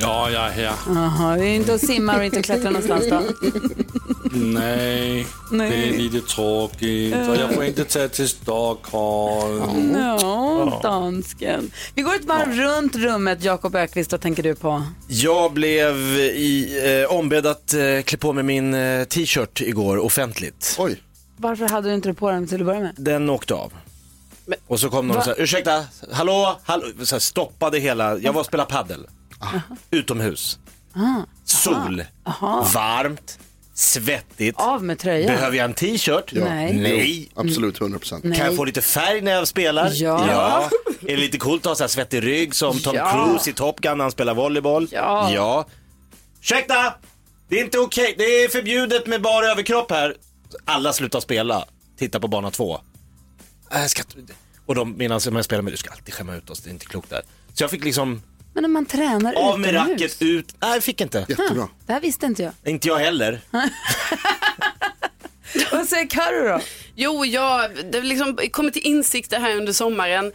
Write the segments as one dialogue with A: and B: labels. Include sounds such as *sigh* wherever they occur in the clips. A: Ja, jag är här.
B: Jaha, vi är inte och simmar och inte och klättrar någonstans då?
A: Nej,
B: Nej.
A: det är lite tråkigt. Och jag får inte ta till Stockholm.
B: Ja, dansken. Vi går ett varv runt rummet, Jakob Ökvist. vad tänker du på?
C: Jag blev i, eh, ombedd att eh, klä på mig min eh, t-shirt igår offentligt.
D: Oj.
B: Varför hade du inte det på den till att börja med?
C: Den åkte av. Och så kom någon och sa, ursäkta, hallå, hallå, så här, stoppade hela, jag var och spelade paddel. Utomhus. Sol, varmt, svettigt.
B: Av med tröjan?
C: Behöver jag en t-shirt?
B: Nej.
C: Nej.
E: Mm.
D: Absolut, 100 procent.
C: Kan jag få lite färg när jag spelar?
B: Ja.
C: Är det lite coolt att ha så här svettig rygg som Tom
B: Ja.
C: Cruise i Top Gun när han spelar volleyboll?
B: Ja.
C: ja. Ursäkta! Det är inte okej, det är förbjudet med bara överkropp här. Alla slutar spela, titta på bana två. Äh, jag ska... inte- Och de medan jag spelar med, du ska alltid skämma ut oss, det är inte klokt där. Så jag fick liksom
B: Men när man tränar
C: av med
B: utomhus?
C: racket, ut, nej jag fick inte.
D: Jättebra.
B: Det här visste inte jag.
C: Inte jag heller.
B: Vad säger Carro då?
E: Jo, jag det har liksom kommit till insikter här under sommaren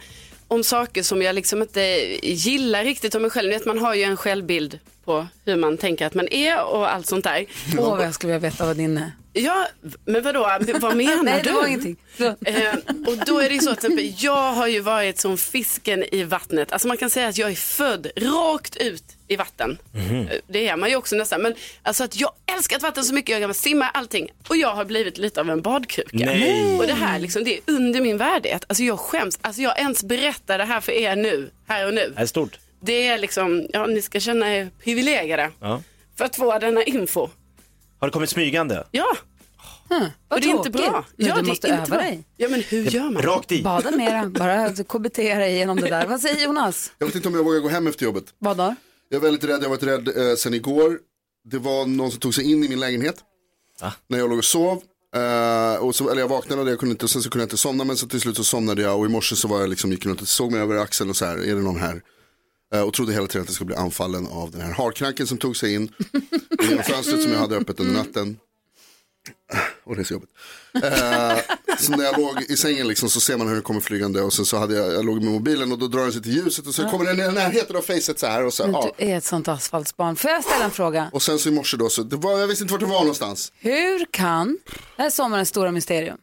E: om saker som jag liksom inte gillar riktigt om mig själv. Ni Vet, man har ju en självbild på hur man tänker att man är och allt sånt där.
B: Åh, vad jag skulle vilja veta vad din är.
E: Ja, men vadå, vad menar
B: *laughs* Nej,
E: du?
B: det var ingenting. Förlåt.
E: Eh, och då är det ju så att till exempel, jag har ju varit som fisken i vattnet. Alltså man kan säga att jag är född rakt ut i vatten. Eh, Det är man ju också nästan. Men alltså att jag älskat vatten så mycket, jag kan simma, allting. Och jag har blivit lite av en badkruka.
C: Nej.
E: Och det här liksom, det är under min värdighet. Alltså jag skäms. Alltså jag ens berättar det här för er nu, här och nu.
C: Det är stort.
E: Det är liksom, ja ni ska känna er privilegierade
C: Ja.
E: för att få denna info.
C: Har det kommit smygande?
E: Ja,
B: Vad
E: och det är inte bra.
B: Men
E: ja,
B: du
E: det är
B: måste
E: inte
B: öva
E: bra.
B: dig.
E: Ja, men hur gör man?
C: Rakt i?
B: Bada mera, bara *laughs* KBT dig igenom det där. Vad säger Jonas?
F: Jag vet inte om jag vågar gå hem efter jobbet.
B: Badar?
F: Jag är väldigt rädd, jag har varit rädd eh, sen igår. Det var någon som tog sig in i min lägenhet. När jag låg och sov. Eh, och så, eller jag vaknade och jag kunde inte, och sen så kunde jag inte somna. Men så till slut så somnade jag och i morse så var jag liksom, gick runt och såg mig över axeln och så här, är det någon här? Eh, och trodde hela tiden att jag skulle bli anfallen av den här harkranken som tog sig in. Genom fönstret som jag hade öppet under natten. Och det är så jobbigt. Eh, så när jag låg i sängen liksom, så ser man hur den kommer flygande och sen så hade jag, jag låg med mobilen och då drar den sig till ljuset och så kommer den i närheten av facet så här och så här, ja.
B: Du är ett sånt asfaltsbarn. Får jag ställa en fråga?
F: Och sen så i morse då, så det var, jag visste inte vart det var någonstans.
B: Hur kan, det här är sommarens stora mysterium,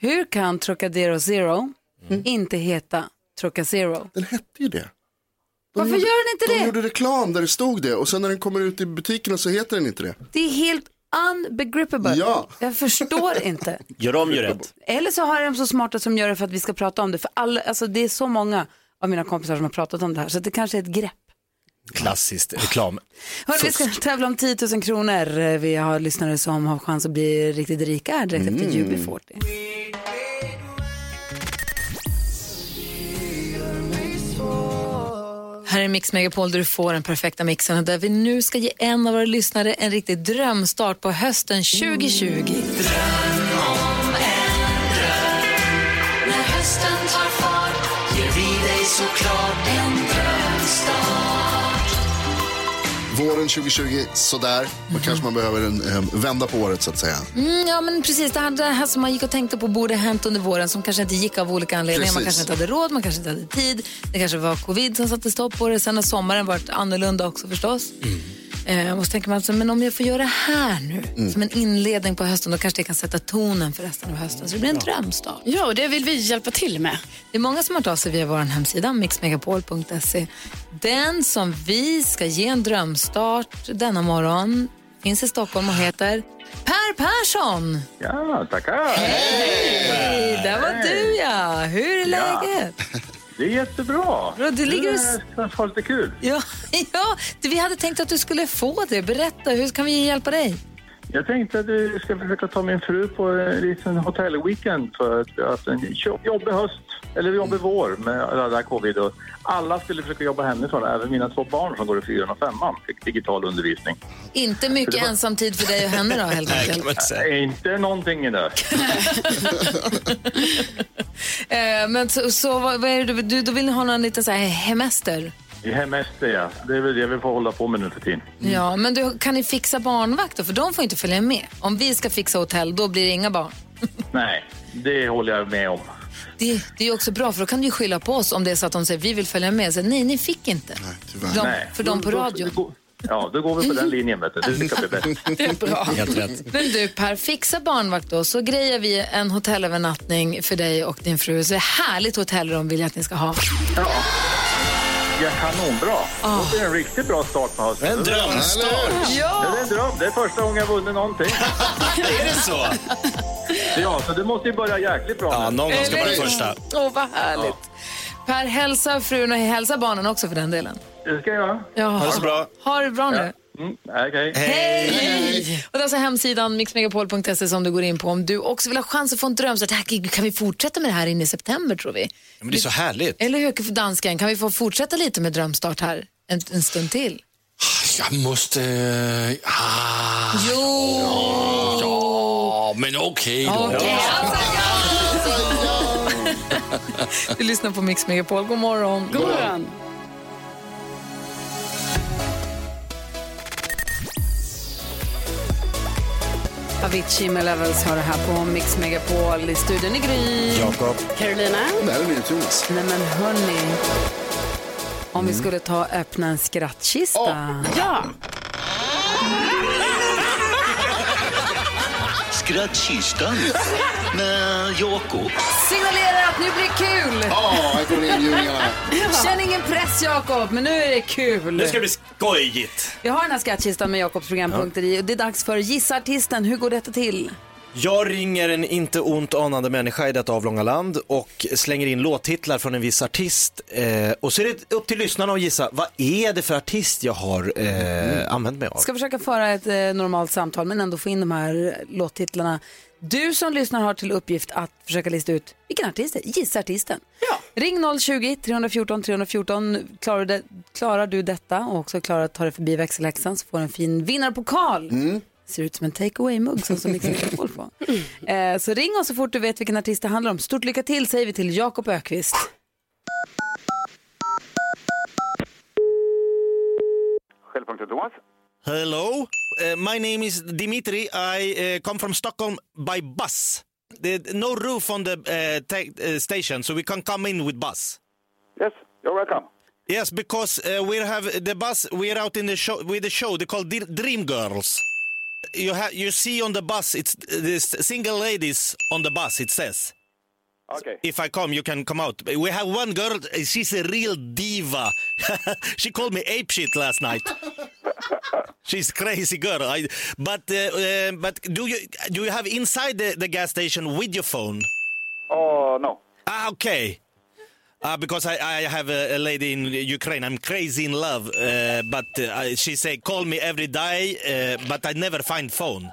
B: hur kan Trocadero Zero
F: Mm.
B: inte heta Trocacero?
F: Den hette ju det.
B: Varför
F: gjorde-
B: gör den inte
F: Mm. De
B: det?
F: gjorde reklam där det stod det och sen när den kommer ut i butikerna så heter den inte det.
B: Det är helt unbegrippable.
F: Ja.
B: Jag förstår
F: *laughs*
B: inte.
C: Gör om ju rätt.
B: Eller så har de så smarta som gör det för att vi ska prata om det. För alla, alltså det är så många av mina kompisar som har pratat om det här så det kanske är ett grepp.
C: Klassiskt reklam.
B: Hörru, vi ska tävla om 10 000 kronor. Vi har lyssnare som har chans att bli riktigt rika här direkt efter UB40.
G: Här är Mix Megapol där du får den perfekta mixen och där vi nu ska ge en av våra lyssnare en riktig drömstart på hösten 2020.
F: Våren 2020, sådär. Då
E: Mm.
F: kanske man behöver en, eh, vända på året så att säga.
G: Mm, ja, men precis. Det här, det här som man gick och tänkte på borde ha hänt under våren som kanske inte gick av olika anledningar. Man
F: Precis.
G: kanske inte hade råd, man kanske inte hade tid. Det kanske var covid som satte stopp på det. Sen har sommaren varit annorlunda också förstås.
E: Mm.
G: Eh, och så tänker man, så, men om jag får göra det här nu som en inledning på hösten, då kanske det kan sätta tonen för resten av hösten. Så det blir en drömstart.
E: Ja, och det vill vi hjälpa till med.
G: Det är många som har hört av sig via vår hemsida mixmegapol.se. Den som vi ska ge en drömstart denna morgon finns i Stockholm och heter Per Persson. Ja, tackar. Hej, där var du ja. Hur är läget?
H: Det är jättebra.
B: Bra, du ligger och s-
H: Det känns lite kul.
B: *laughs* Ja, ja, vi hade tänkt att du skulle få det. Berätta, hur kan vi hjälpa dig?
H: Jag tänkte att jag ska försöka ta min fru på en liten hotellweekend för att vi har haft en jobb- jobbig höst, eller jobbig vår med alla det här covid. Och alla skulle försöka jobba hemifrån, även mina två barn som går i fyran och femman fick digital undervisning.
B: Inte mycket ensamtid för dig och henne då,
H: *laughs*
B: helt enkelt.
H: Nej, Inte någonting nu.
B: Eh, men så, så vad, vad är det, du- du, då vill ni ha någon liten så här hemester?
H: Mm. Hemester, ja. Det är väl det vi får hålla på med nu för tiden.
B: Ja, men du, kan ni fixa barnvakt då? För de får inte följa med. Om vi ska fixa hotell, då blir det inga barn.
H: Nej, det håller jag med om.
B: Det, det är ju också bra, för då kan du ju skylla på oss om det är så att de säger vi vill följa med. Så, nej, ni fick inte. De,
H: Nej.
B: *laughs* För de på radio.
H: Ja, då går vi på den linjen, vet du. Det ska bli
C: *laughs*
H: bäst.
B: Det är bra.
C: Helt rätt.
B: Men du Per, fixa barnvakt då så grejar vi en hotellövernattning för dig och din fru. Så härligt hotellrum vill jag att ni ska ha.
H: Ja, kanonbra.
B: Ah.
H: Det är en riktigt bra start på hösten.
C: En drömstart.
H: Ja, det är en dröm. Det är första gången jag vunnit någonting.
C: Är det så?
H: Ja, så det måste ju börja jäkligt bra.
C: Ja,
H: nu.
C: någon gång ska vara den första.
B: Åh, vad härligt. Per, hälsa frun och hälsa barnen också för den delen.
H: Det ska jag göra.
B: Ja.
C: Ha det så bra.
B: Ha det bra nu.
H: Mm, Okej.
B: Hej! Och det är alltså hemsidan mixmegapol.se som du går in på om du också vill ha chans att få en dröm. Så att, det här- kan vi fortsätta med det här in i september tror vi?
C: Ja, men det är så härligt.
B: Eller hur, för dansken? Kan vi få fortsätta lite med drömstart här en, en stund till?
I: Jag måste... Ah,
B: Jo!
I: ja, men okej då.
B: Okej, alltså, ja! Du lyssnar på Mix Megapol. God morgon.
G: God morgon. Avicii med Levels har det här på Mix Megapol i studion i Gry.
C: Jakob.
E: Carolina?
F: Det här är nytt Jonas.
G: Nej men hörni, om vi skulle ta och öppna en skrattkista.
E: Ja.
J: Skrattkistan med Jakob.
B: Signalerar att nu blir det kul!
F: Ja, här kommer inbjudningarna.
B: Känn ingen press, Jakob, men nu är det kul.
C: Nu ska det bli skojigt.
G: Vi har den här skrattkistan med Jakobs programpunkter i och det är dags för Gissa artisten. Hur går detta till?
C: Jag ringer en inte ont anande människa i detta avlånga land och slänger in låttitlar från en viss artist. Eh, och så är det upp till lyssnarna att gissa, vad är det för artist jag har eh, använt mig av?
G: Ska försöka föra ett eh, normalt samtal men ändå få in de här låttitlarna. Du som lyssnar har till uppgift att försöka lista ut vilken artist det är. Gissa artisten. Ring 020-314 314. Klarar du, det, klarar du detta och också klarar att ta dig förbi växelhäxan så får du en fin vinnarpokal. Ser ut som en take away-mugg som så mycket koll på. Eh, så ring oss så fort du vet vilken artist det handlar om. Stort lycka till säger vi till Jakob Ökvist.
H: Självpunkten Thomas.
C: Hello, uh, my name is Dimitri. I uh, come from Stockholm by bus. There's no roof on the uh, ta- uh, station, so we can come in with bus.
H: Yes, you're welcome.
C: Yes, because uh, we have the bus. We're out in the show with the show. They call Dr- Dream Girls. You ha- you see on the bus. It's uh, this single ladies on the bus. It says.
H: Okay.
C: If I come, you can come out. We have one girl. uh, She's a real diva. *laughs* she called me ape shit last night. She's crazy girl. I, but uh, uh, but do you do you have inside the, the gas station with your phone?
H: Oh, no.
C: Ah, okay. Uh, because I, I have a, a lady in Ukraine. I'm crazy in love, uh, but uh, I, she say call me every day, uh, but I never find phone.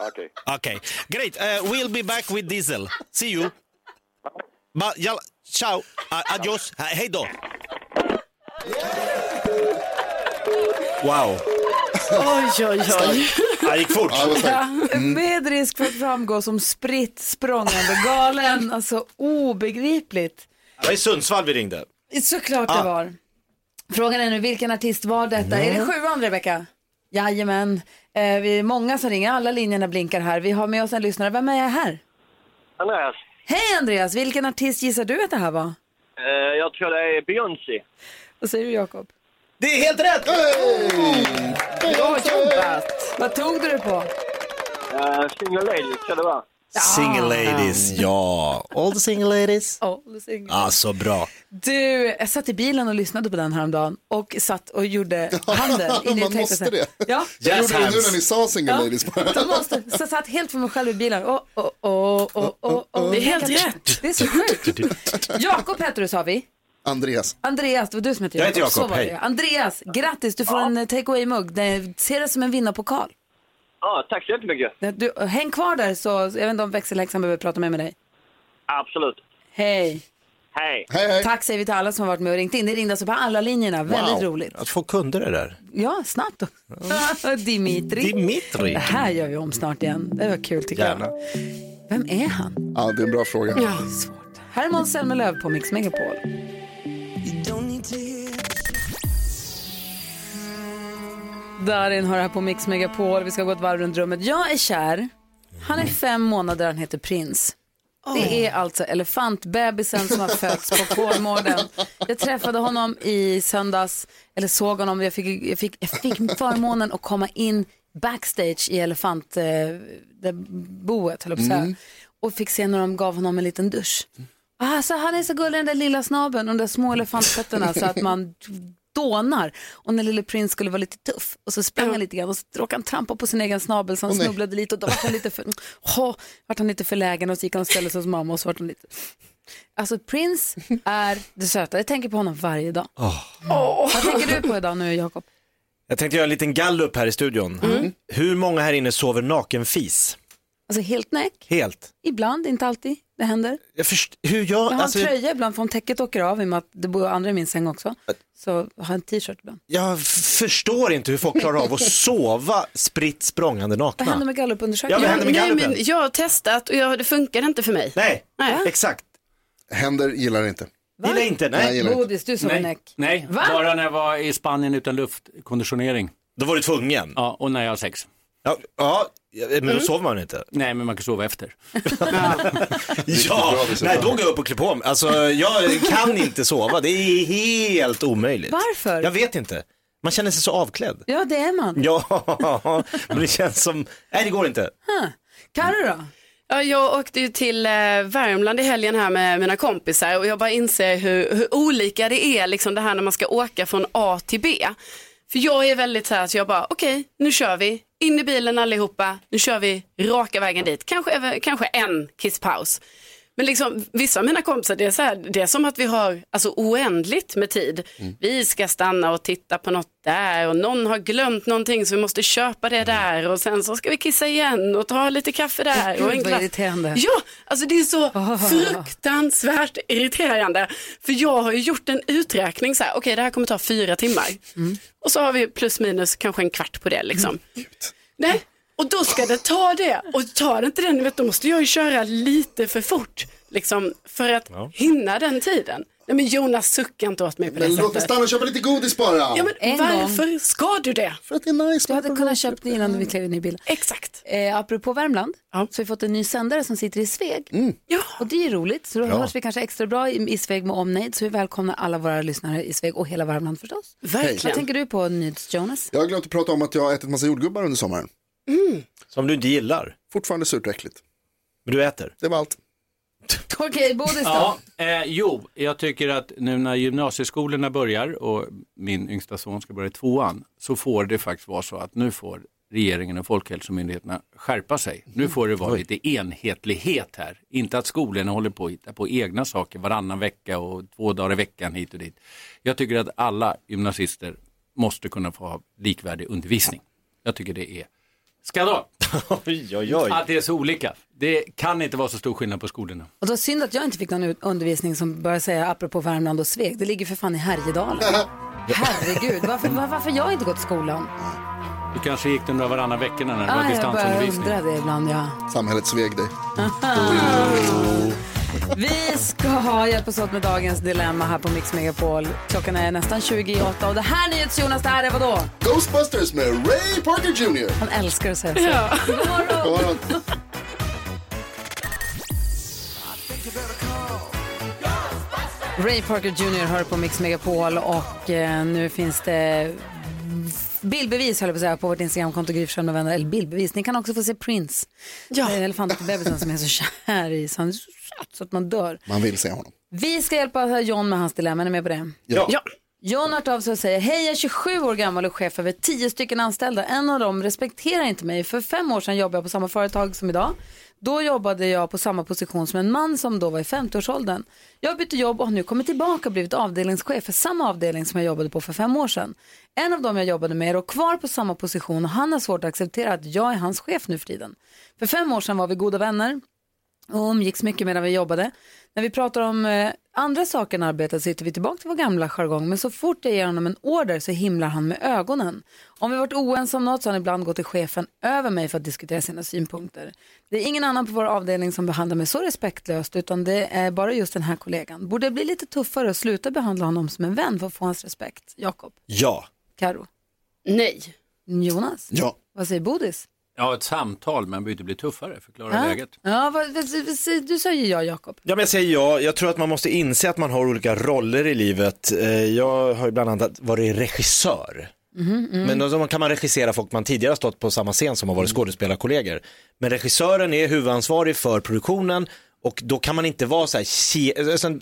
H: Okay.
C: Okay, great. Uh, we'll be back with Diesel. See you. Ba, jalla, ciao, uh, adios, uh, hej då. Wow,
E: Oj, oj, oj.
C: det gick fort.
F: Ja, det var starkt.
G: Med risk för att framgå som spritt språngande galen. Alltså obegripligt.
C: Det var i Sundsvall vi ringde.
G: Såklart
C: Ah.
G: det var. Frågan är nu vilken artist var detta? Är
C: Mm.
G: det sjuan Rebecka? Jajamän. Eh, vi är många som ringer, alla linjerna blinkar här. Vi har med oss en lyssnare. Vem är jag här?
H: Andreas,
G: Hej Andreas, vilken artist gissar du att det här var?
H: jag tror det är Beyoncé.
G: Vad säger du Jakob?
C: Det är helt rätt!
G: Bra jobbat! Vad tog du det på?
H: Single lady Eh, ska det vara.
C: Single ladies, ja. All the single ladies.
G: All the single.
C: Alltså bra.
G: Du, jag satt i bilen och lyssnade på den häromdagen och satt och
F: *laughs*
G: gjorde handen. in i
F: Man
G: texten.
F: måste det.
G: Ja.
F: Jag gjorde det nu
C: hands.
F: när ni sa single ladies bara.
G: De måste, så jag satt helt för mig själv i bilen. Oh, oh, oh, oh, oh, oh.
E: Det är helt rätt.
G: Det är så sjukt. Jakob heter du sa vi.
F: Andreas.
G: Andreas, det var du som hette
F: Jag heter Jakob,
G: Så var det.
F: hej.
G: Andreas, grattis, du får en eh, take away-mugg. Den- Se det som en vinnarpokal.
K: Ja, tack så jättemycket.
G: Du, häng kvar där så, jag vet inte om växelhäxan behöver prata mer med dig.
K: Absolut.
G: Hej.
K: Hej.
G: Tack säger vi till alla som har varit med och ringt in. Det ringde alltså på alla linjerna, väldigt roligt.
C: Att få kunder det där.
G: Ja, snabbt då. *laughs* Dimitri.
C: Dimitri.
G: Det här gör vi om snart igen. Det var kul tycker
F: Gärna.
G: jag. Vem är han?
F: Ja, det är en bra fråga.
G: Ja, svårt. Här är Måns Zelmerlöw på Mix Megapol. Darin har det här på Mix Megapol. Vi ska gå ett varv runt rummet. Jag är kär. Han är fem månader, han heter Prins. Det är alltså elefantbebisen som har fötts på Kolmården. Jag träffade honom i söndags, eller såg honom. Jag fick, jag fick, jag fick förmånen att komma in backstage i elefantboet, höll jag på att säga.
L: Mm.
G: Och fick se när de gav honom en liten dusch. Alltså, han är så gullig den där lilla snabeln och de där små elefantfötterna så att man dånar. Och när lille prins skulle vara lite tuff och så sprang han lite grann och så råkade han trampa på sin egen snabel så han
L: Åh, nej.
G: snubblade lite och då vart han lite för, *laughs* oh, vart han lite förlägen och så gick han och ställde sig hos mamma och så vart han lite... Alltså prins är det söta, jag tänker på honom varje dag. Vad tänker du på idag nu Jakob?
C: Jag tänkte göra en liten gallup här i studion.
E: Mm.
C: Hur många här inne sover nakenfis?
G: Alltså helt näck,
C: Helt.
G: ibland, inte alltid, det händer.
C: Jag först... Hur gör...
G: Jag har
C: alltså,
G: en tröja ibland för om täcket åker av i och med att det bor andra i min säng också. Så jag har en t-shirt ibland.
C: Jag f- förstår inte hur folk klarar av att sova spritt språngande
G: Vad händer
C: nakna.
G: med gallupundersökningen?
C: Ja, vad händer med
E: Nej,
C: gallupen?
E: men jag har testat och jag, det funkar inte för mig.
C: Nej,
E: Nej.
C: exakt.
F: Händer gillar inte.
C: Gillar inte?
F: Nej, jag gillar inte.
G: Bodis, du som är
A: Nej,
G: näck.
A: nej.
G: Va?
A: bara när jag var i Spanien utan luftkonditionering.
C: Då var du tvungen?
A: Ja, och när jag har sex.
C: Ja, men då Mm. sover man inte.
A: Nej, men man kan
G: *laughs*
A: sova efter.
C: Ja, nej då går jag upp och klär på mig. Alltså jag kan inte sova, det är helt omöjligt.
G: Varför?
C: Jag vet inte. Man känner sig så avklädd.
G: Ja, det är man.
C: Ja, men det känns som, nej det går inte.
G: Carro då?
E: Ja, jag åkte ju till eh, Värmland i helgen här med mina kompisar och jag bara inser hur, hur olika det är liksom det här när man ska åka från A till B. För jag är väldigt så här att jag bara okej, nu kör vi, in i bilen allihopa, nu kör vi raka vägen dit, kanske, över- kanske en kisspaus. Men liksom, vissa av mina kompisar, det är, så här, det är som att vi har alltså, oändligt med tid.
G: Mm.
E: Vi ska stanna och titta på något där och någon har glömt någonting så vi måste köpa det
G: Mm.
E: där och sen så ska vi kissa igen och ta lite kaffe där.
G: Gud,
E: Och en
G: vad
E: glass.
G: irriterande.
E: Ja, alltså det är så fruktansvärt irriterande. För jag har ju gjort en uträkning så här, okej det här kommer ta fyra timmar.
G: Mm.
E: Och så har vi plus minus kanske en kvart på det liksom.
F: Mm.
E: Nej, och då ska det ta det. Och tar det inte den, vet, du, då måste jag ju köra lite för fort. Liksom, för att
F: Ja.
E: hinna den tiden. Nej, men Jonas suckar inte åt mig på det
F: Men låt mig
E: sättet.
F: stanna och köpa lite godis bara.
E: Ja, men
G: En
E: varför ska du det?
F: För att det är nice.
G: Du hade kunnat köpt det innan vi klev in i bilen.
E: Exakt.
G: Eh, apropå Värmland, så har vi fått en ny sändare som sitter i Sveg.
A: Mm.
E: Ja.
G: Och det är ju roligt, så då
L: Bra.
G: hörs vi kanske extra bra i, i Sveg med omnejd. Så vi välkomnar alla våra lyssnare i Sveg och hela Värmland förstås.
F: Verkligen.
G: Vad tänker du på nyhets Jonas?
F: Jag har glömt att prata om att jag har ätit massa jordgubbar under sommaren.
C: Som du inte gillar?
F: Fortfarande surt och äckligt.
C: Men du äter?
F: Det var allt.
G: *laughs* Okej, Bodis då?
A: Ja, eh, jo, jag tycker att nu när gymnasieskolorna börjar och min yngsta son ska börja i tvåan så får det faktiskt vara så att nu får regeringen och Folkhälsomyndigheterna skärpa sig. Nu får det vara
I: Oj.
A: lite enhetlighet här. Inte att skolorna håller på att hitta på egna saker varannan vecka och två dagar i veckan hit och dit. Jag tycker att alla gymnasister måste kunna få ha likvärdig undervisning. Jag tycker det är skandal.
C: oj, oj, oj.
A: Att det är så olika. Det kan inte vara så stor skillnad på skolorna.
G: Och då synd att jag inte fick någon ut- undervisning som börjar säga apropå Värmland och Sveg. Det ligger för fan i *laughs* Härjedalen. Herregud, varför, var, varför har jag inte gått skolan?
A: Du kanske gick den där varannan vecka när det var
G: Ah, jag börjar
A: distansundervisning.
G: undra det ibland, ja.
F: Samhället sveg dig.
G: Vi ska ha hjälpas åt med dagens dilemma här på Mix Megapol. Klockan är nästan 28 och det här NyhetsJonas, det här är vadå?
F: Ghostbusters med Ray Parker Jr.
G: Han älskar att säga så.
F: Ja.
G: God morgon.
F: God morgon.
G: Ray Parker Jr hör på Mix Megapol och eh, nu finns det bildbevis höll jag på att säga på vårt Instagramkonto Gry Forssell med vänner. Eller bildbevis, ni kan också få se Prince. Eh, Ja. Elefantbebisen som är så kär i så han är så söt så att man dör.
F: Man vill se honom.
G: Vi ska hjälpa John med hans dilemma, är ni med på det?
F: Ja.
G: John har hört av sig och säger, hej jag är 27 år gammal och chef över 10 stycken anställda. En av dem respekterar inte mig. För fem år sedan jobbade jag på samma företag som idag. Då jobbade jag på samma position som en man som då var i 50-årsåldern. Jag bytte jobb och har nu kommit tillbaka och blivit avdelningschef för samma avdelning som jag jobbade på för fem år sedan. En av dem jag jobbade med är då kvar på samma position och han har svårt att acceptera att jag är hans chef nu för tiden. För fem år sedan var vi goda vänner och umgicks mycket medan vi jobbade. När vi pratar om eh, andra saker än arbetet så hittar vi tillbaka till vår gamla jargong men så fort jag ger honom en order så himlar han med ögonen. Om vi varit oense om något så har han ibland gått till chefen över mig för att diskutera sina synpunkter. Det är ingen annan på vår avdelning som behandlar mig så respektlöst utan det är bara just den här kollegan. Borde jag bli lite tuffare och sluta behandla honom som en vän för att få hans respekt? Jakob,
C: Ja.
G: Karo,
E: Nej.
G: Jonas,
C: Ja.
G: vad säger Bodis?
A: Ja, ett samtal, men behöver inte bli tuffare, förklara
G: Ja.
A: läget.
G: Ja, vad, vad, vad, du säger ja Jakob.
C: Ja, men jag säger ja. Jag tror att man måste inse att man har olika roller i livet. Eh, Jag har ju bland annat varit regissör.
G: Mhm, mm.
C: Men då kan man regissera folk man tidigare har stått på samma scen som har varit skådespelarkollegor. Men regissören är huvudansvarig för produktionen och då kan man inte vara så här, ke- alltså,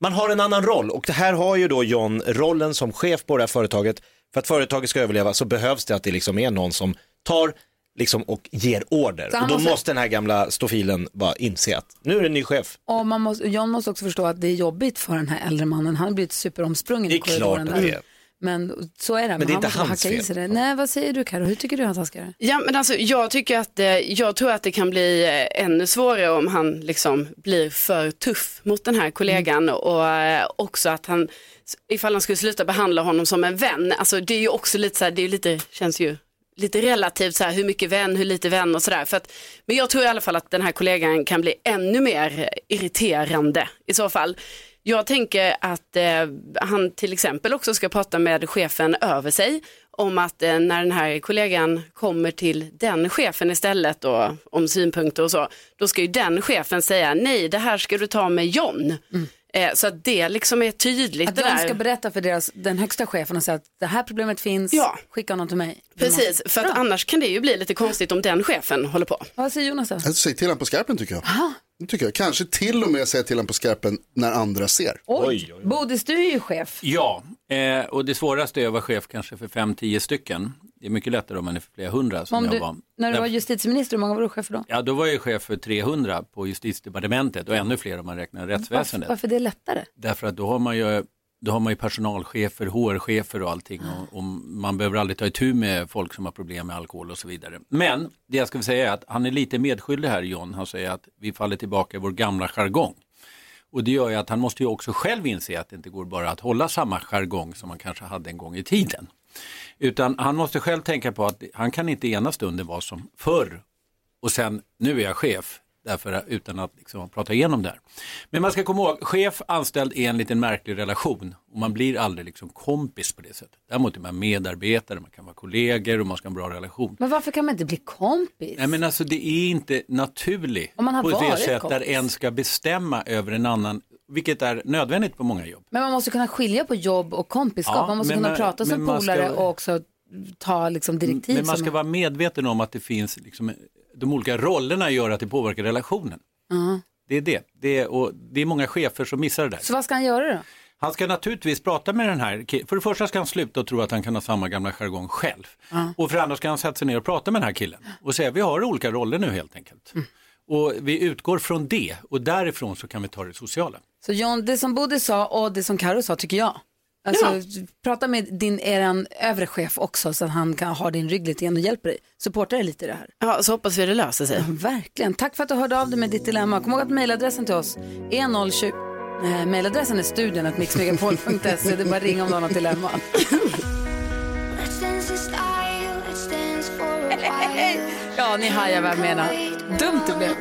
C: man har en annan roll och det här har ju då John rollen som chef på det här företaget. För att företaget ska överleva så behövs det att det liksom är någon som tar liksom, och ger order.
G: Så han
C: Och då
G: måste-
C: måste den här gamla stofilen bara inse att nu är det en ny chef.
G: Och man måste, John måste också förstå att det är jobbigt för den här äldre mannen. Han har blivit superomsprungen
C: Det
G: i
C: är klart
G: korridoren.
C: att det
G: Där.
C: är.
G: Men så är det.
C: det är
G: han
C: inte
G: måste
C: hans
G: hacka i
C: fel.
G: sig Det. Nej, vad säger du Karo? Hur tycker du att han ska göra?
E: Ja, men alltså, jag, tycker att, eh, jag tror att det kan bli eh, ännu svårare om han liksom blir för tuff mot den här kollegan och eh, också att han, ifall han skulle sluta behandla honom som en vän, alltså det är ju också lite så här, det är ju lite, känns ju lite relativt så här, hur mycket vän, hur lite vän och sådär. För att- Men jag tror i alla fall att den här kollegan kan bli ännu mer irriterande i så fall. Jag tänker att eh, han till exempel också ska prata med chefen över sig om att eh, när den här kollegan kommer till den chefen istället och om synpunkter och så, då ska ju den chefen säga nej, det här ska du ta med John. Eh, så att det liksom är tydligt.
G: Mm. Att
E: det
G: de
E: där.
G: ska berätta för deras, den högsta chefen och säga att det här problemet finns, skicka honom till mig.
E: Precis, för att annars kan det ju bli lite konstigt om den chefen håller på.
G: Vad säger Jonas då?
F: Alltså, Säg till honom på skarpen tycker jag. Det tycker jag. Kanske till och med säga till honom på skarpen när andra ser.
G: Oj, Bodis, du är ju chef.
A: Ja, eh, och det svåraste är att vara chef kanske för 5-10 stycken. Det är mycket lättare om man är för flera hundra som
G: Om
A: jag
G: du,
A: var.
G: när du
A: Därför-
G: var justitieminister, hur många var du chef för då?
A: Ja, då var jag ju chef för 300 på justitiedepartementet och ännu fler om man räknar
G: Mm,
A: rättsväsendet.
G: Varför det är lättare?
A: Därför att då har man ju, då har man ju personalchefer, HR-chefer och allting och, och man behöver aldrig ta itu med folk som har problem med alkohol och så vidare. Men det jag skulle säga är att han är lite medskyldig här John, han säger att vi faller tillbaka i vår gamla jargong. Och det gör ju att han måste ju också själv inse att det inte går bara att hålla samma jargong som man kanske hade en gång i tiden. Utan han måste själv tänka på att han kan inte ena stunden vara som förr och sen nu är jag chef därför, utan att liksom prata igenom det här. Men man ska komma ihåg, chef anställd är en liten märklig relation och man blir aldrig liksom kompis på det sättet. Däremot är man medarbetare, man kan vara kollegor och man ska ha en bra relation.
G: Men varför kan man inte bli kompis?
A: Nej men alltså det är inte naturligt
G: Om man har
A: på det
G: varit
A: sätt där
G: kompis.
A: en ska bestämma över en annan, vilket är nödvändigt på många jobb.
G: Men man måste kunna skilja på jobb och kompisskap.
A: Ja,
G: man måste
A: men
G: kunna
A: man-
G: prata som
A: men man ska-
G: polare och också ta liksom direktiv.
A: Men man
G: som
A: ska vara medveten om att det finns, liksom, de olika rollerna gör att det påverkar relationen.
G: Ja.
A: Det är det. Det är, och det är många chefer som missar det där.
G: Så vad ska han göra då?
A: Han ska naturligtvis prata med den här killen. För det första ska han sluta och tro att han kan ha samma gamla jargong själv. Och för det andra ska han sätta sig ner och prata med den här killen och säga vi har olika roller nu helt enkelt. Och vi utgår från det och därifrån så kan vi ta det sociala.
G: Så John, det som Bodil sa och det som Karo sa tycker jag. Alltså, Prata med din eran övre chef också så att han kan ha din rygg lite grann och hjälper dig. Supporta dig lite i det här.
E: Ja, så hoppas vi det löser sig.
G: Verkligen. Tack för att du hörde av dig med ditt dilemma. Kom ihåg att mejladressen till oss är 020... Nej, mejladressen är studion att mixmegapol.se. Det är bara att ringa om du har något dilemma. *laughs* Ja, ni hajar vad jag menar. Dumt det blev.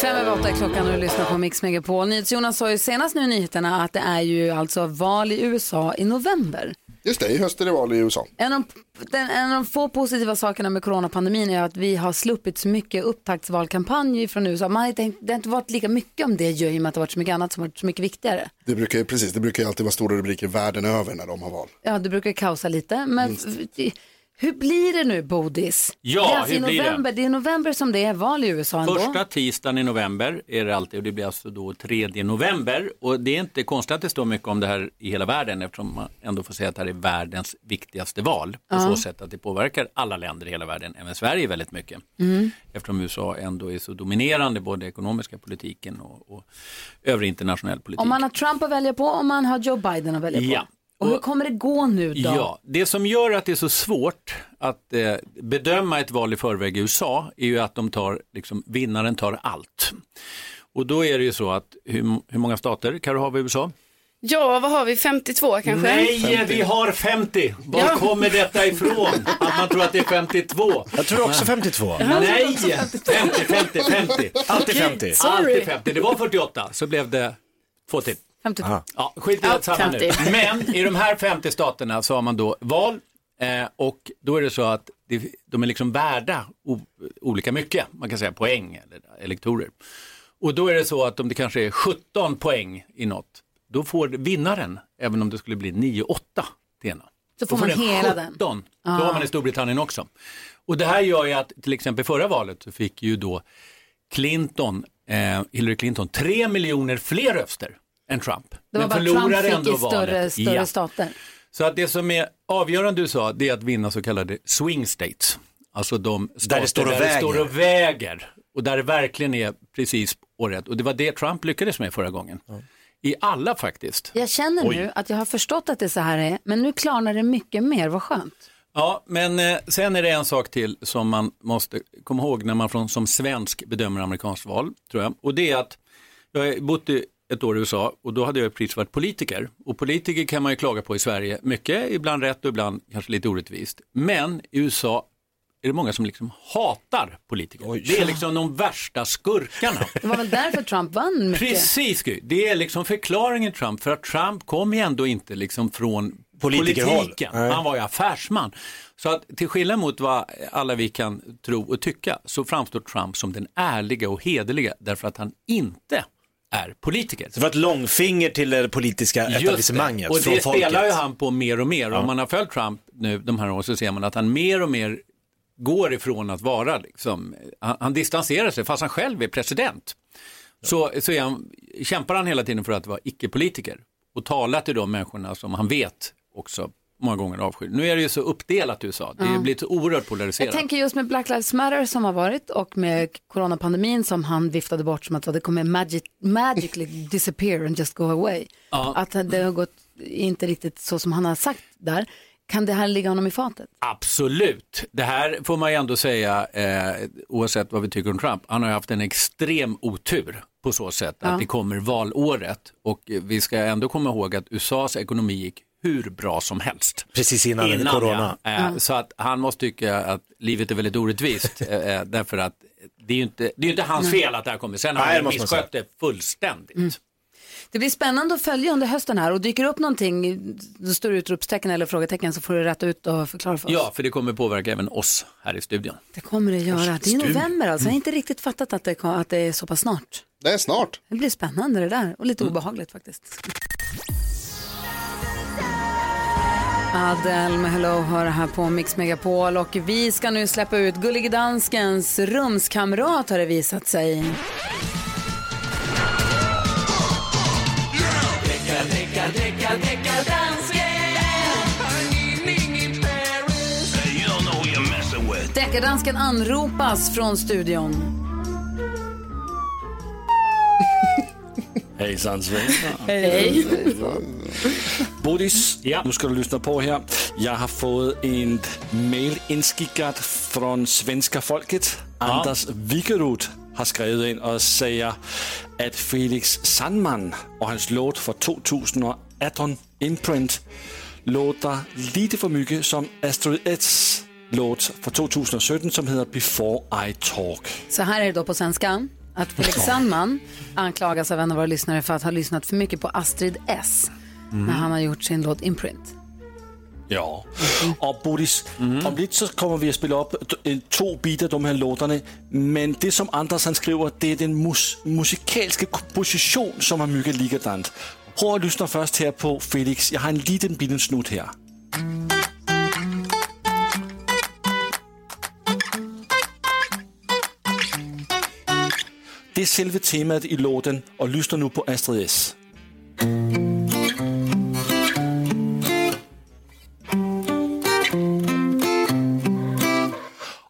G: Fem över åtta är klockan och du lyssnar på Mix Megapol. NyhetsJonas sa ju senast nu i nyheterna att det är ju alltså val i USA i november.
F: Just det, i höst är det val i USA.
G: En av, de, den, en av de få positiva sakerna med coronapandemin är att vi har sluppit så mycket upptaktsvalkampanjer från USA. Man har inte, det har inte varit lika mycket om det ju, i och med att det har varit så mycket annat som har varit så mycket viktigare.
F: Det brukar, ju- precis, det brukar ju alltid vara stora rubriker världen över när de har val.
G: Ja, det brukar kaosa lite, men
F: Minst.
G: det- Hur blir det nu Bodis?
A: Ja,
G: det är alltså
A: hur
G: i
A: blir det?
G: november. Det är i november som det är val i USA ändå.
A: Första tisdagen i november är det alltid och det blir alltså då 3 november. Och det är inte konstigt att det står mycket om det här i hela världen eftersom man ändå får säga att det här är världens viktigaste val. På
L: Ja.
A: så sätt att det påverkar alla länder i hela världen, även Sverige väldigt mycket.
L: Mm.
A: Eftersom USA ändå är så dominerande både i ekonomiska politiken och, och övrig internationell politik.
G: Om man har Trump att välja på, om man har Joe Biden att välja på.
A: Ja.
G: Och hur kommer det gå nu då?
A: Ja, det som gör att det är så svårt att eh, bedöma ett val i förväg i USA är ju att de tar, liksom, vinnaren tar allt. Och då är det ju så att hur, hur många stater kan du ha i USA?
E: Ja, vad har vi? 52 kanske?
A: Nej, vi har 50. Var
E: Ja.
A: kommer detta ifrån? Att man tror att det är 52.
C: Jag tror också 52.
A: Nej, 50, 50, 50.
C: Alltid 50.
A: Alltid 50. Det var 48, så blev det två till.
G: 52.
A: Ja, skit i
G: Ja,
A: allt samma nu.
G: *laughs* 50.
A: Men i de här 50 staterna så har man då val eh, och då är det så att det, de är liksom värda o, olika mycket, man kan säga poäng eller elektorer. Och då är det så att om det kanske är 17 poäng i något, då får vinnaren, även om det skulle bli 9-8 till ena.
G: Så
A: Då
G: får man hela den.
A: 17. Då
G: Ah.
A: har man i Storbritannien också. Och det här gör ju att till exempel förra valet så fick ju då Clinton, eh, Hillary Clinton 3 miljoner fler röster än Trump.
G: Det var
A: Men
G: bara Trump
A: förlorade
G: fick i
A: ändå
G: större,
A: valet.
G: större
A: Ja.
G: stater.
A: Så att det som är avgörande du sa, det är att vinna så kallade swing states. Alltså de stater
C: Där det står och
A: där
C: väger.
A: det står och väger. Och där det verkligen är precis och rätt. Och det var det Trump lyckades med förra gången. I alla faktiskt.
G: Jag känner
A: Oj.
G: nu att jag har förstått att det så här är, men nu klarnar det mycket mer, vad skönt.
A: Ja, men eh, sen är det en sak till som man måste komma ihåg när man från, som svensk bedömer amerikanskt val, tror jag. Och det är att jag har bott i ett år i USA och då hade jag precis varit politiker. Och politiker kan man ju klaga på i Sverige mycket, ibland rätt och ibland kanske lite orättvist. Men i USA är det många som liksom hatar politiker. Det är liksom de värsta skurkarna.
G: Det var väl därför Trump vann mycket.
A: Precis, Gry. det är liksom förklaringen Trump, för att Trump kom ju ändå inte liksom från
C: Politikerhåll.
A: politiken,
C: Nej.
A: han var ju affärsman. Så att till skillnad mot vad alla vi kan tro och tycka så framstår Trump som den ärliga och hederliga därför att han inte är politiker.
C: Det var ett långfinger till det politiska etablissemanget
A: Och
C: från
A: det
C: folket.
A: spelar ju han på mer och mer.
C: Ja.
A: Om man har följt Trump nu de här åren så ser man att han mer och mer går ifrån att vara, liksom, han, han distanserar sig fast han själv är president. Så, så är han, kämpar han hela tiden för att vara icke-politiker och tala till de människorna som han vet också många gånger avskyr. Nu är det ju så uppdelat i USA, det
G: Ja.
A: har blivit så oerhört
G: Jag
A: polariserat.
G: tänker just med Black Lives Matter som har varit och med coronapandemin som han viftade bort som att det kommer magic, magically disappear and just go away.
A: Ja.
G: Att det har gått inte riktigt så som han har sagt där. Kan det här ligga honom i fatet?
A: Absolut. Det här får man ju ändå säga, eh, oavsett vad vi tycker om Trump, han har ju haft en extrem otur på så sätt
G: Ja.
A: att det kommer valåret och eh, vi ska ändå komma ihåg att USAs ekonomi gick hur bra som helst.
C: Precis innan corona.
A: ja.
C: Ja.
A: Eh, Så att han måste tycka att livet är
G: *laughs*
A: väldigt orättvist eh, eh, därför att det är ju inte, det är ju inte hans
G: Nej. Mm.
A: fel att det här kommer. Sen har
C: Nej,
A: han
C: det
A: ju
C: måste man säga.
A: misskött det fullständigt.
G: Det blir spännande att följa under hösten här och dyker upp någonting, då står det utropstecken eller frågetecken så får du rätta ut och förklara för oss.
A: Ja, för det kommer påverka även oss här i studion.
G: Det kommer det göra. Det är i
A: Stum.
G: november
A: Mm.
G: alltså. Jag har inte riktigt fattat att det, kom- att det är så pass snart.
F: Det är snart.
G: Det blir spännande det där och lite obehagligt faktiskt. Adele med Hello hör här på Mix Megapol och vi ska nu släppa ut Gullige Danskens rumskamrat har det visat sig. Deckardansken anropas från studion.
M: Hejsan svejsan.
G: Hej.
M: Bodis, nu ska du lyssna på här. Jag har fått en mail inskickat från svenska folket. Anders Wikerud har skrivit in och säger att Felix Sandman och hans låt för 2018, Imprint, låter lite för mycket som Astrid Eds låt för 2017 som heter Before I Talk.
G: Så här är det då på svenska. Att Felix Sandman anklagas av en av våra lyssnare för att ha lyssnat för mycket på Astrid S. När han har gjort sin låt Imprint.
M: Ja, och Bodis, om lite så kommer vi att spela upp t- två bitar av de här låtarna. Men det som Anders han skriver, det är den mus- musikaliska komposition som är mycket likadant. Pröv att lyssna först här på Felix. Jag har en liten liten snutt här. Det är själva temat i låten och lyssna nu på Astrid S.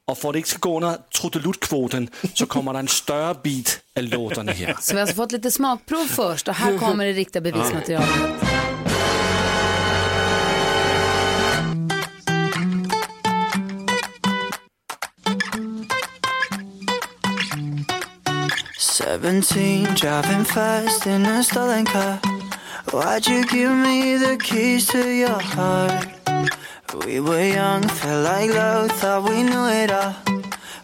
M: Och för att det inte ska gå under trudeluttkvoten så kommer det en större bit av låtarna här.
G: Så vi har alltså fått lite smakprov först och här kommer det riktiga bevismaterialet.
L: Seventeen, driving fast in a stolen car. Why'd you give me the keys to your heart? We were young, felt like love, thought we knew it all.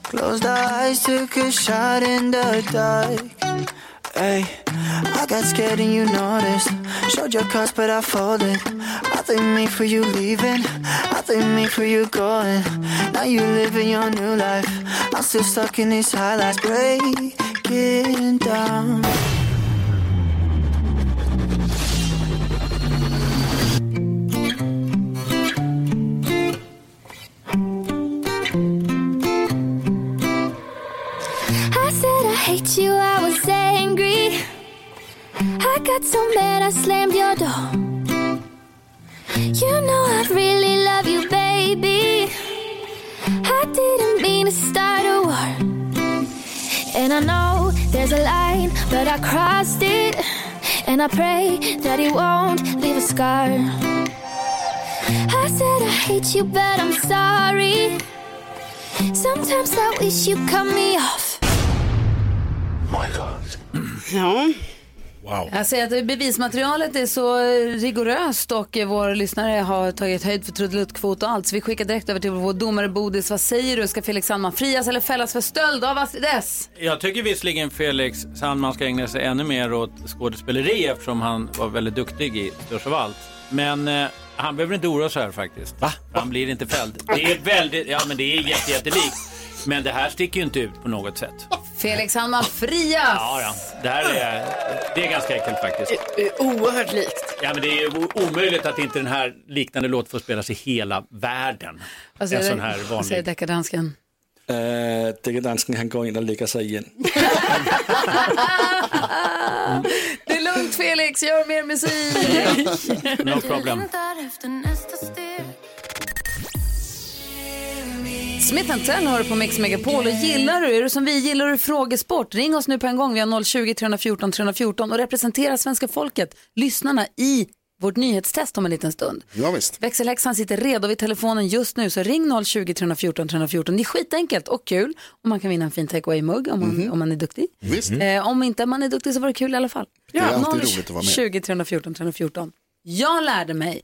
L: Closed our eyes, took a shot in the dark. Hey, I got scared and you noticed. Showed your cards, but I folded. I thank me for you leaving. I thank me for you going. Now you living your new life. I'm still stuck in these highlights, breaking down.
N: I said I hate you, I was angry. I got so mad I slammed your door. You know I really love you, baby. I didn't mean to start a war. And I know there's a line, but I crossed it. And I pray that it won't leave a scar. I said I hate you, but I'm sorry. Sometimes I wish you cut me off.
E: Ja.
C: Wow.
G: Jag säger att bevismaterialet är så rigoröst och våra lyssnare har tagit höjd för trudeluttkvot och allt. Så vi skickar direkt över till vår domare Bodis. Vad säger du? Ska Felix Sandman frias eller fällas för stöld av Astrid S?
A: Jag tycker visserligen Felix Sandman ska ägna sig ännu mer åt skådespeleri eftersom han var väldigt duktig i Störst av allt. Men eh, han behöver inte oroa sig här faktiskt. Han blir inte fälld. Det är väldigt, ja men det är jätte, jättelikt. Men det här sticker ju inte ut på något sätt.
G: Felix Sandman frias!
A: Ja, då. det här är, det är ganska äckligt faktiskt.
E: Oerhört likt.
A: Ja, men det är ju o- omöjligt att inte den här liknande låt får spelas i hela världen.
G: Vad säger
A: en
G: du?
A: sån här
G: Vad säger
A: vanlig.
G: deckardansken?
M: Uh, Dækkerdansken han går in och lägger sig igen.
G: Det är lugnt Felix, gör mer musik!
A: No problem.
G: Smith Tell hör på Mix Megapol och gillar du, är du som vi, gillar du frågesport? Ring oss nu på en gång, vi har 020 314 314 och representera svenska folket, lyssnarna i vårt nyhetstest om en liten stund.
F: Ja, visst.
G: Växelhäxan sitter redo vid telefonen just nu så ring 020 314 314. Det är skitenkelt och kul och man kan vinna en fin takeaway-mugg om, man- om man är duktig.
F: Visst.
G: Eh, om inte man är duktig så var det kul i alla fall.
F: Mm. Det är alltid
G: 020
F: roligt att vara med.
G: 20 314 314. Jag lärde mig,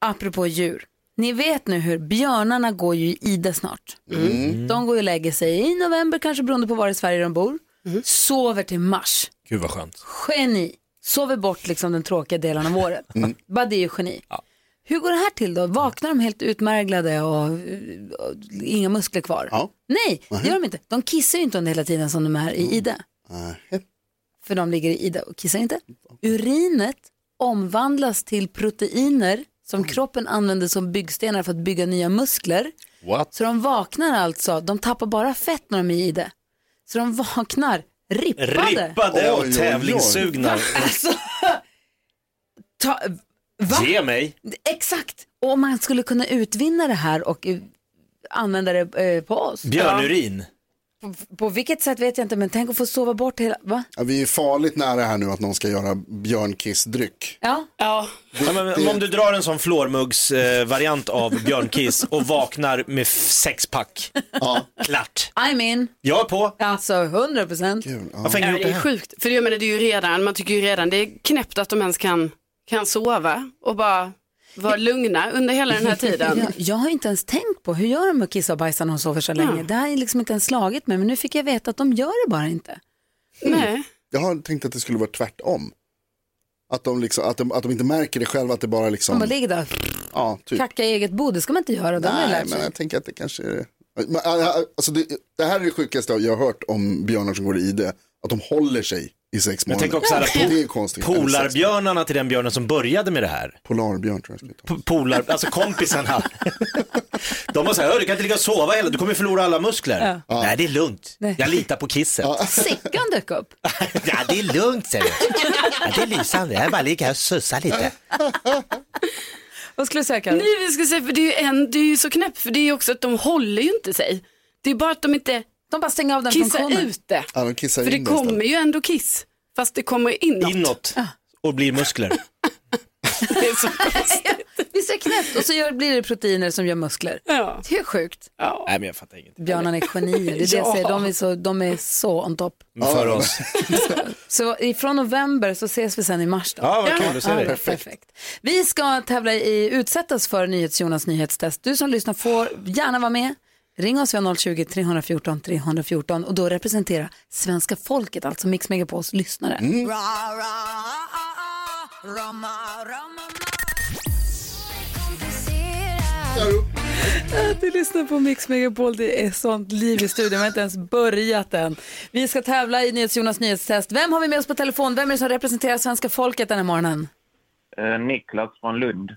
G: apropå djur, ni vet nu hur björnarna går ju i ide snart.
C: Mm.
G: De går ju och lägger sig i november, kanske beroende på var i Sverige de bor.
F: Mm.
G: Sover till mars.
C: Gud vad skönt.
G: Geni. Sover bort liksom den tråkiga delen av året. Mm. Bara det är ju geni. Hur går det här till då? Vaknar de helt utmärglade och, och inga muskler kvar? Nej, det gör de inte. De kissar ju inte under hela tiden som de är i ide. För de ligger i ide och kissar inte. Urinet omvandlas till proteiner som kroppen använder som byggstenar för att bygga nya muskler.
F: What?
G: Så de vaknar alltså, de tappar bara fett när de är i ide. Så de vaknar rippade.
C: Rippade och
G: Oj, oj, oj.
C: tävlingssugna.
G: Ta, va?
C: Ge mig.
G: Exakt, och om man skulle kunna utvinna det här och eh, använda det eh, på oss.
C: Björnurin.
G: På, på vilket sätt vet jag inte, men tänk att få sova bort hela, va?
F: Ja, vi är farligt nära här nu att någon ska göra björnkissdryck.
G: Ja.
E: ja.
C: Ja, men, om du drar en sån flårmuggsvariant av björnkiss och vaknar med f- sexpack.
F: Ja.
C: Klart.
G: I'm in.
C: Jag är på.
G: Alltså 100 procent.
C: Varför har
E: Ja,
C: ingen
E: det
C: gjort det
E: är
C: här?
E: sjukt. För jag menar, det är ju redan, man tycker ju redan det är knäppt att de ens kan, kan sova och bara vara lugna under hela den här tiden.
G: Jag, jag har inte ens tänkt på hur gör de med att kissa och bajsa när de sover så länge. Det här är liksom inte ens slagit mig, men nu fick jag veta att de gör det bara inte.
E: Nej.
F: Jag har tänkt att det skulle vara tvärtom. Att de, liksom, att de, att de inte märker det själva, att det bara liksom...
G: De bara ligger där
F: Ja,
G: och
F: typ.
G: kackar i eget bo, det ska man inte göra. De har ju
F: Nej,
G: lärt
F: men
G: sig.
F: jag tänker att det kanske är... Men, äh, Alltså det, det här är det sjukaste jag har hört om björnar som går i det. Att de håller sig i sex
C: Jag
F: månader.
C: tänker också
F: det är
C: här, po-
F: konstigt. Eller sex.
C: polarbjörnarna till den björnen som började med det här.
F: Polarbjörn tror jag
C: Po- Polar, alltså kompisarna. De var så här, "Hör, du kan inte ligga och sova hela, du kommer förlora alla muskler. Nej, det är lugnt. Jag litar på kisset.
G: Sickan
O: *laughs*
G: dök upp.
C: Ja, det är lugnt säger du. Ja, det är lysande, jag bara ligger här och sussar lite.
G: Vad skulle du säga Karin?
O: Nej, vi skulle säga, för det är, ju en, det är ju så knäppt, för det är ju också att de håller ju inte sig. Det är bara att de inte
G: de bara stänger av den
O: kissar
G: funktionen.
O: ut det.
F: Ja, de kissar
O: För det
F: in den istället.
O: kommer ju ändå kiss, fast det kommer inåt.
C: Inåt och blir muskler.
G: *laughs* Visst är det knäppt? Och så gör, blir det proteiner som gör muskler. Det är sjukt.
C: Nej, men jag fattar inget.
G: Björnarna är genier, det är det
O: *laughs*
G: jag
O: Ja.
G: säger. De är så, de är så on top.
C: För oss.
G: Så ifrån november så ses vi sen i mars då.
C: Ja, vad kul, då ser vi.
G: perfekt. Vi ska tävla i utsättas för NyhetsJonas nyhetstest. Du som lyssnar får gärna vara med. Ring oss via 020-314 314 och då representera svenska folket, alltså Mix Megapols lyssnare.
H: Mm.
G: Att du lyssnar på Mix Megapol, det är sånt liv i studion. Vi har inte ens börjat än. Vi ska tävla i NyhetsJonas nyhetstest. Vem har vi med oss på telefon? Vem är det som representerar svenska folket den här morgonen?
H: Eh, Niklas från Lund.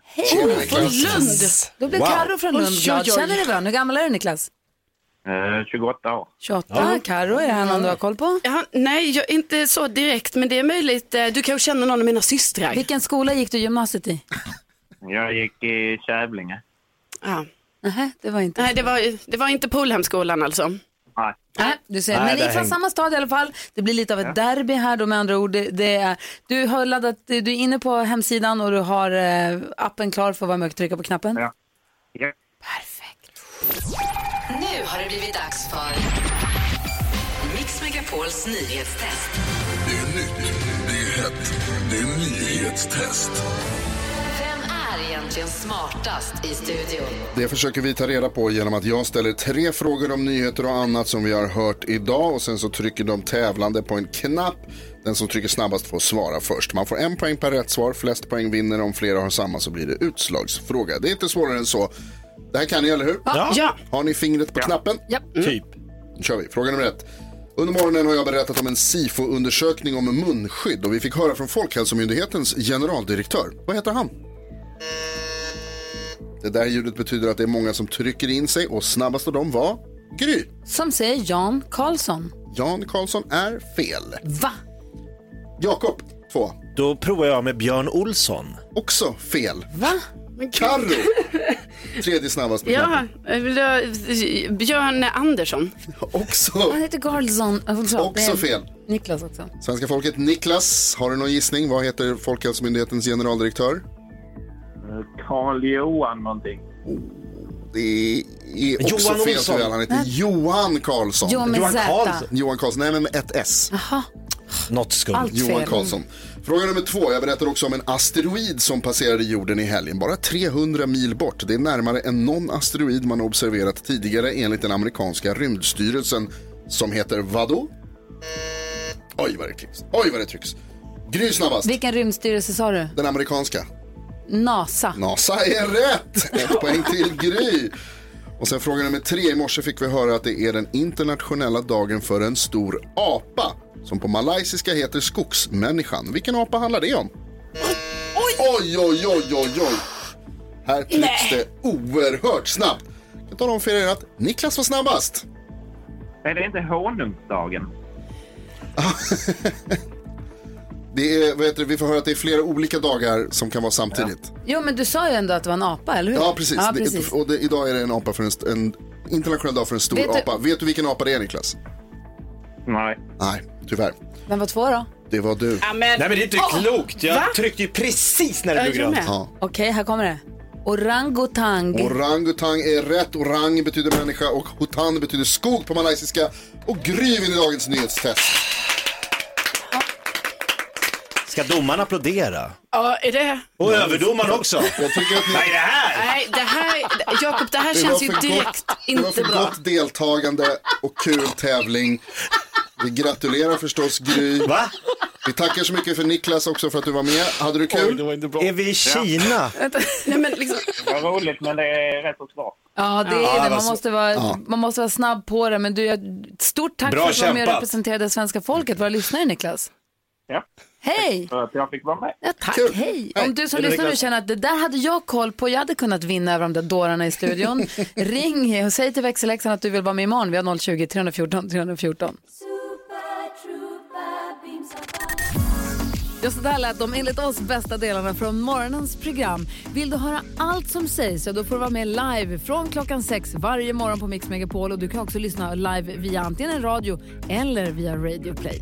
G: från Lund! Då blir
H: Wow.
G: Karo från
H: Oj,
G: Lund glad.
H: oj, oj.
G: Känner du varandra? Hur gammal är du Niklas?
H: Eh, 28 år.
G: 28.
H: Ja.
G: Karo, är det här någon du har koll på?
O: Ja, nej, jag, inte så direkt, men det är möjligt. Eh, Du kanske känner någon av mina systrar.
G: Vilken skola gick du gymnasiet i?
H: Jag gick i Kävlinge.
O: Ja.
G: Nej, det var inte.
O: Nej, det var, det var inte Polhemskolan alltså.
H: Nej.
G: Nej, du ser.
O: Nej,
G: Men
O: det
G: ifrån
O: häng-
G: samma stad i alla fall. Det blir lite av ett derby här då med andra ord. Det, det är, du har laddat, du är inne på hemsidan och du har eh, appen klar för att vara med och trycka på knappen. Ja.
H: Ja.
B: Nu har det blivit dags för Mix Megapols nyhetstest.
P: Det är nytt, det är hett, det är nyhetstest.
B: Vem är egentligen smartast i studion?
F: Det försöker vi ta reda på genom att jag ställer tre frågor om nyheter och annat som vi har hört idag och sen så trycker de tävlande på en knapp. Den som trycker snabbast får svara först. Man får en poäng per rätt svar, flest poäng vinner. Om flera har samma så blir det utslagsfråga. Det är inte svårare än så. Det här kan ni, eller hur?
O: Ja. Ja.
F: Har ni fingret på knappen?
G: Ja.
C: Mm.
F: Typ. Nu kör vi. Fråga nummer ett. Under morgonen har jag berättat om en SIFO-undersökning om munskydd och vi fick höra från Folkhälsomyndighetens generaldirektör. Vad heter han? Det där ljudet betyder att det är många som trycker in sig och snabbast av dem var Gry.
G: Som säger Jan Karlsson.
F: Jan Karlsson är fel.
G: Va?
F: Jakob, två.
C: Då provar jag med Björn Olsson.
F: Också fel.
G: Va?
F: Karro, tredje snabbast på knappen.
O: Ja, eh, vill jag, Björn Andersson.
F: Också.
G: Han heter Karlsson.
F: Också fel.
G: Niklas också.
F: Svenska folket, Niklas, har du någon gissning? Vad heter Folkhälsomyndighetens generaldirektör?
H: Karl-Johan Eh, någonting.
F: Det är också
H: Johan
F: fel
H: Olsson.
F: tyvärr. Han heter Johan Karlsson.
H: Jo, med Johan Z. Karlsson.
F: Johan Karlsson, nej men med ett S.
G: Aha.
F: Något skumt.
H: Allt fel.
F: Johan Karlsson. Fråga nummer två. Jag berättar också om en asteroid som passerade jorden i helgen. Bara 300 mil bort. Det är närmare än någon asteroid man observerat tidigare enligt den amerikanska rymdstyrelsen som heter vadå? Oj vad det klipps. Oj vad det trycks. Gry snabbast.
G: Vilken rymdstyrelse sa du?
F: Den amerikanska.
G: NASA.
F: NASA är rätt! Ett poäng till Gry. Och sen fråga nummer tre. I morse fick vi höra att det är den internationella dagen för en stor apa som på malaysiska heter skogsmänniskan. Vilken apa handlar det om? Oj, oj, oj, oj, oj. Här klipps det oerhört snabbt. Jag kan tala om för er att Niklas var snabbast.
H: Är det inte honungsdagen?
F: Det är, vad heter det, vi får höra att det är flera olika dagar som kan vara samtidigt.
G: Jo, men du sa ju ändå att det var en apa, eller hur?
F: Ja, precis.
G: Ja,
F: Det-
G: precis.
F: och det, idag är det en apa för en, st- en internationell dag för en stor
G: Vet du-
F: apa. Vet du vilken apa det är, Niklas?
H: Nej.
F: Nej, tyvärr.
G: Vem var två då?
F: Det var du.
O: Ja, men-
C: Nej men det är inte
G: Åh!
C: klokt. Jag
G: Va?
C: tryckte ju precis när
G: Ja,
C: det
G: jag
C: blev grönt.
G: med. Okej, här kommer det. Orangutang.
F: Orangutang är rätt. Orang betyder människa och hutan betyder skog på malaysiska. Och Gry vinner dagens nyhetstest.
C: Ska domaren applådera?
O: Ja, är det?
C: Och överdomaren också.
F: Jag tycker att ni...
C: Nej, det här!
O: Nej, det här, Jakob, det här känns ju
F: var för
O: direkt
F: gott, Det var
O: inte
F: för
O: bra.
F: gott deltagande och kul tävling. Vi gratulerar förstås Gry.
C: Va?
F: Vi tackar så mycket för Niklas också för att du var med. Hade du kul?
C: Är vi i Kina?
O: Nej, men liksom...
H: Det var roligt, men det är rätt så svårt.
G: Ja, det
C: Ja,
G: är det.
C: det var
G: Man
C: så-
G: måste, vara,
C: Ja.
G: man måste vara snabb på det. Men du, jag- stort tack
C: Bra
G: för att du var med och
C: kämpat.
G: representerade svenska folket, våra lyssnare Niklas.
F: Ja.
G: Hej!
F: För att jag fick vara med.
G: Ja, tack,
F: Kul.
G: hej.
F: Hej.
G: Om du som
F: Hej då,
G: lyssnar nu
F: Niklas.
G: känner att det där hade jag koll på, jag hade kunnat vinna över de där dårarna i studion. Ring och säg till växelläxan att du vill vara med imorgon. Vi har 020-314 314. Ja, så där lät de enligt oss bästa delarna från morgonens program. Vill du höra allt som sägs så då får du vara med live från klockan sex varje morgon på Mix Megapol. Och du kan också lyssna live via antingen radio eller via Radio Play.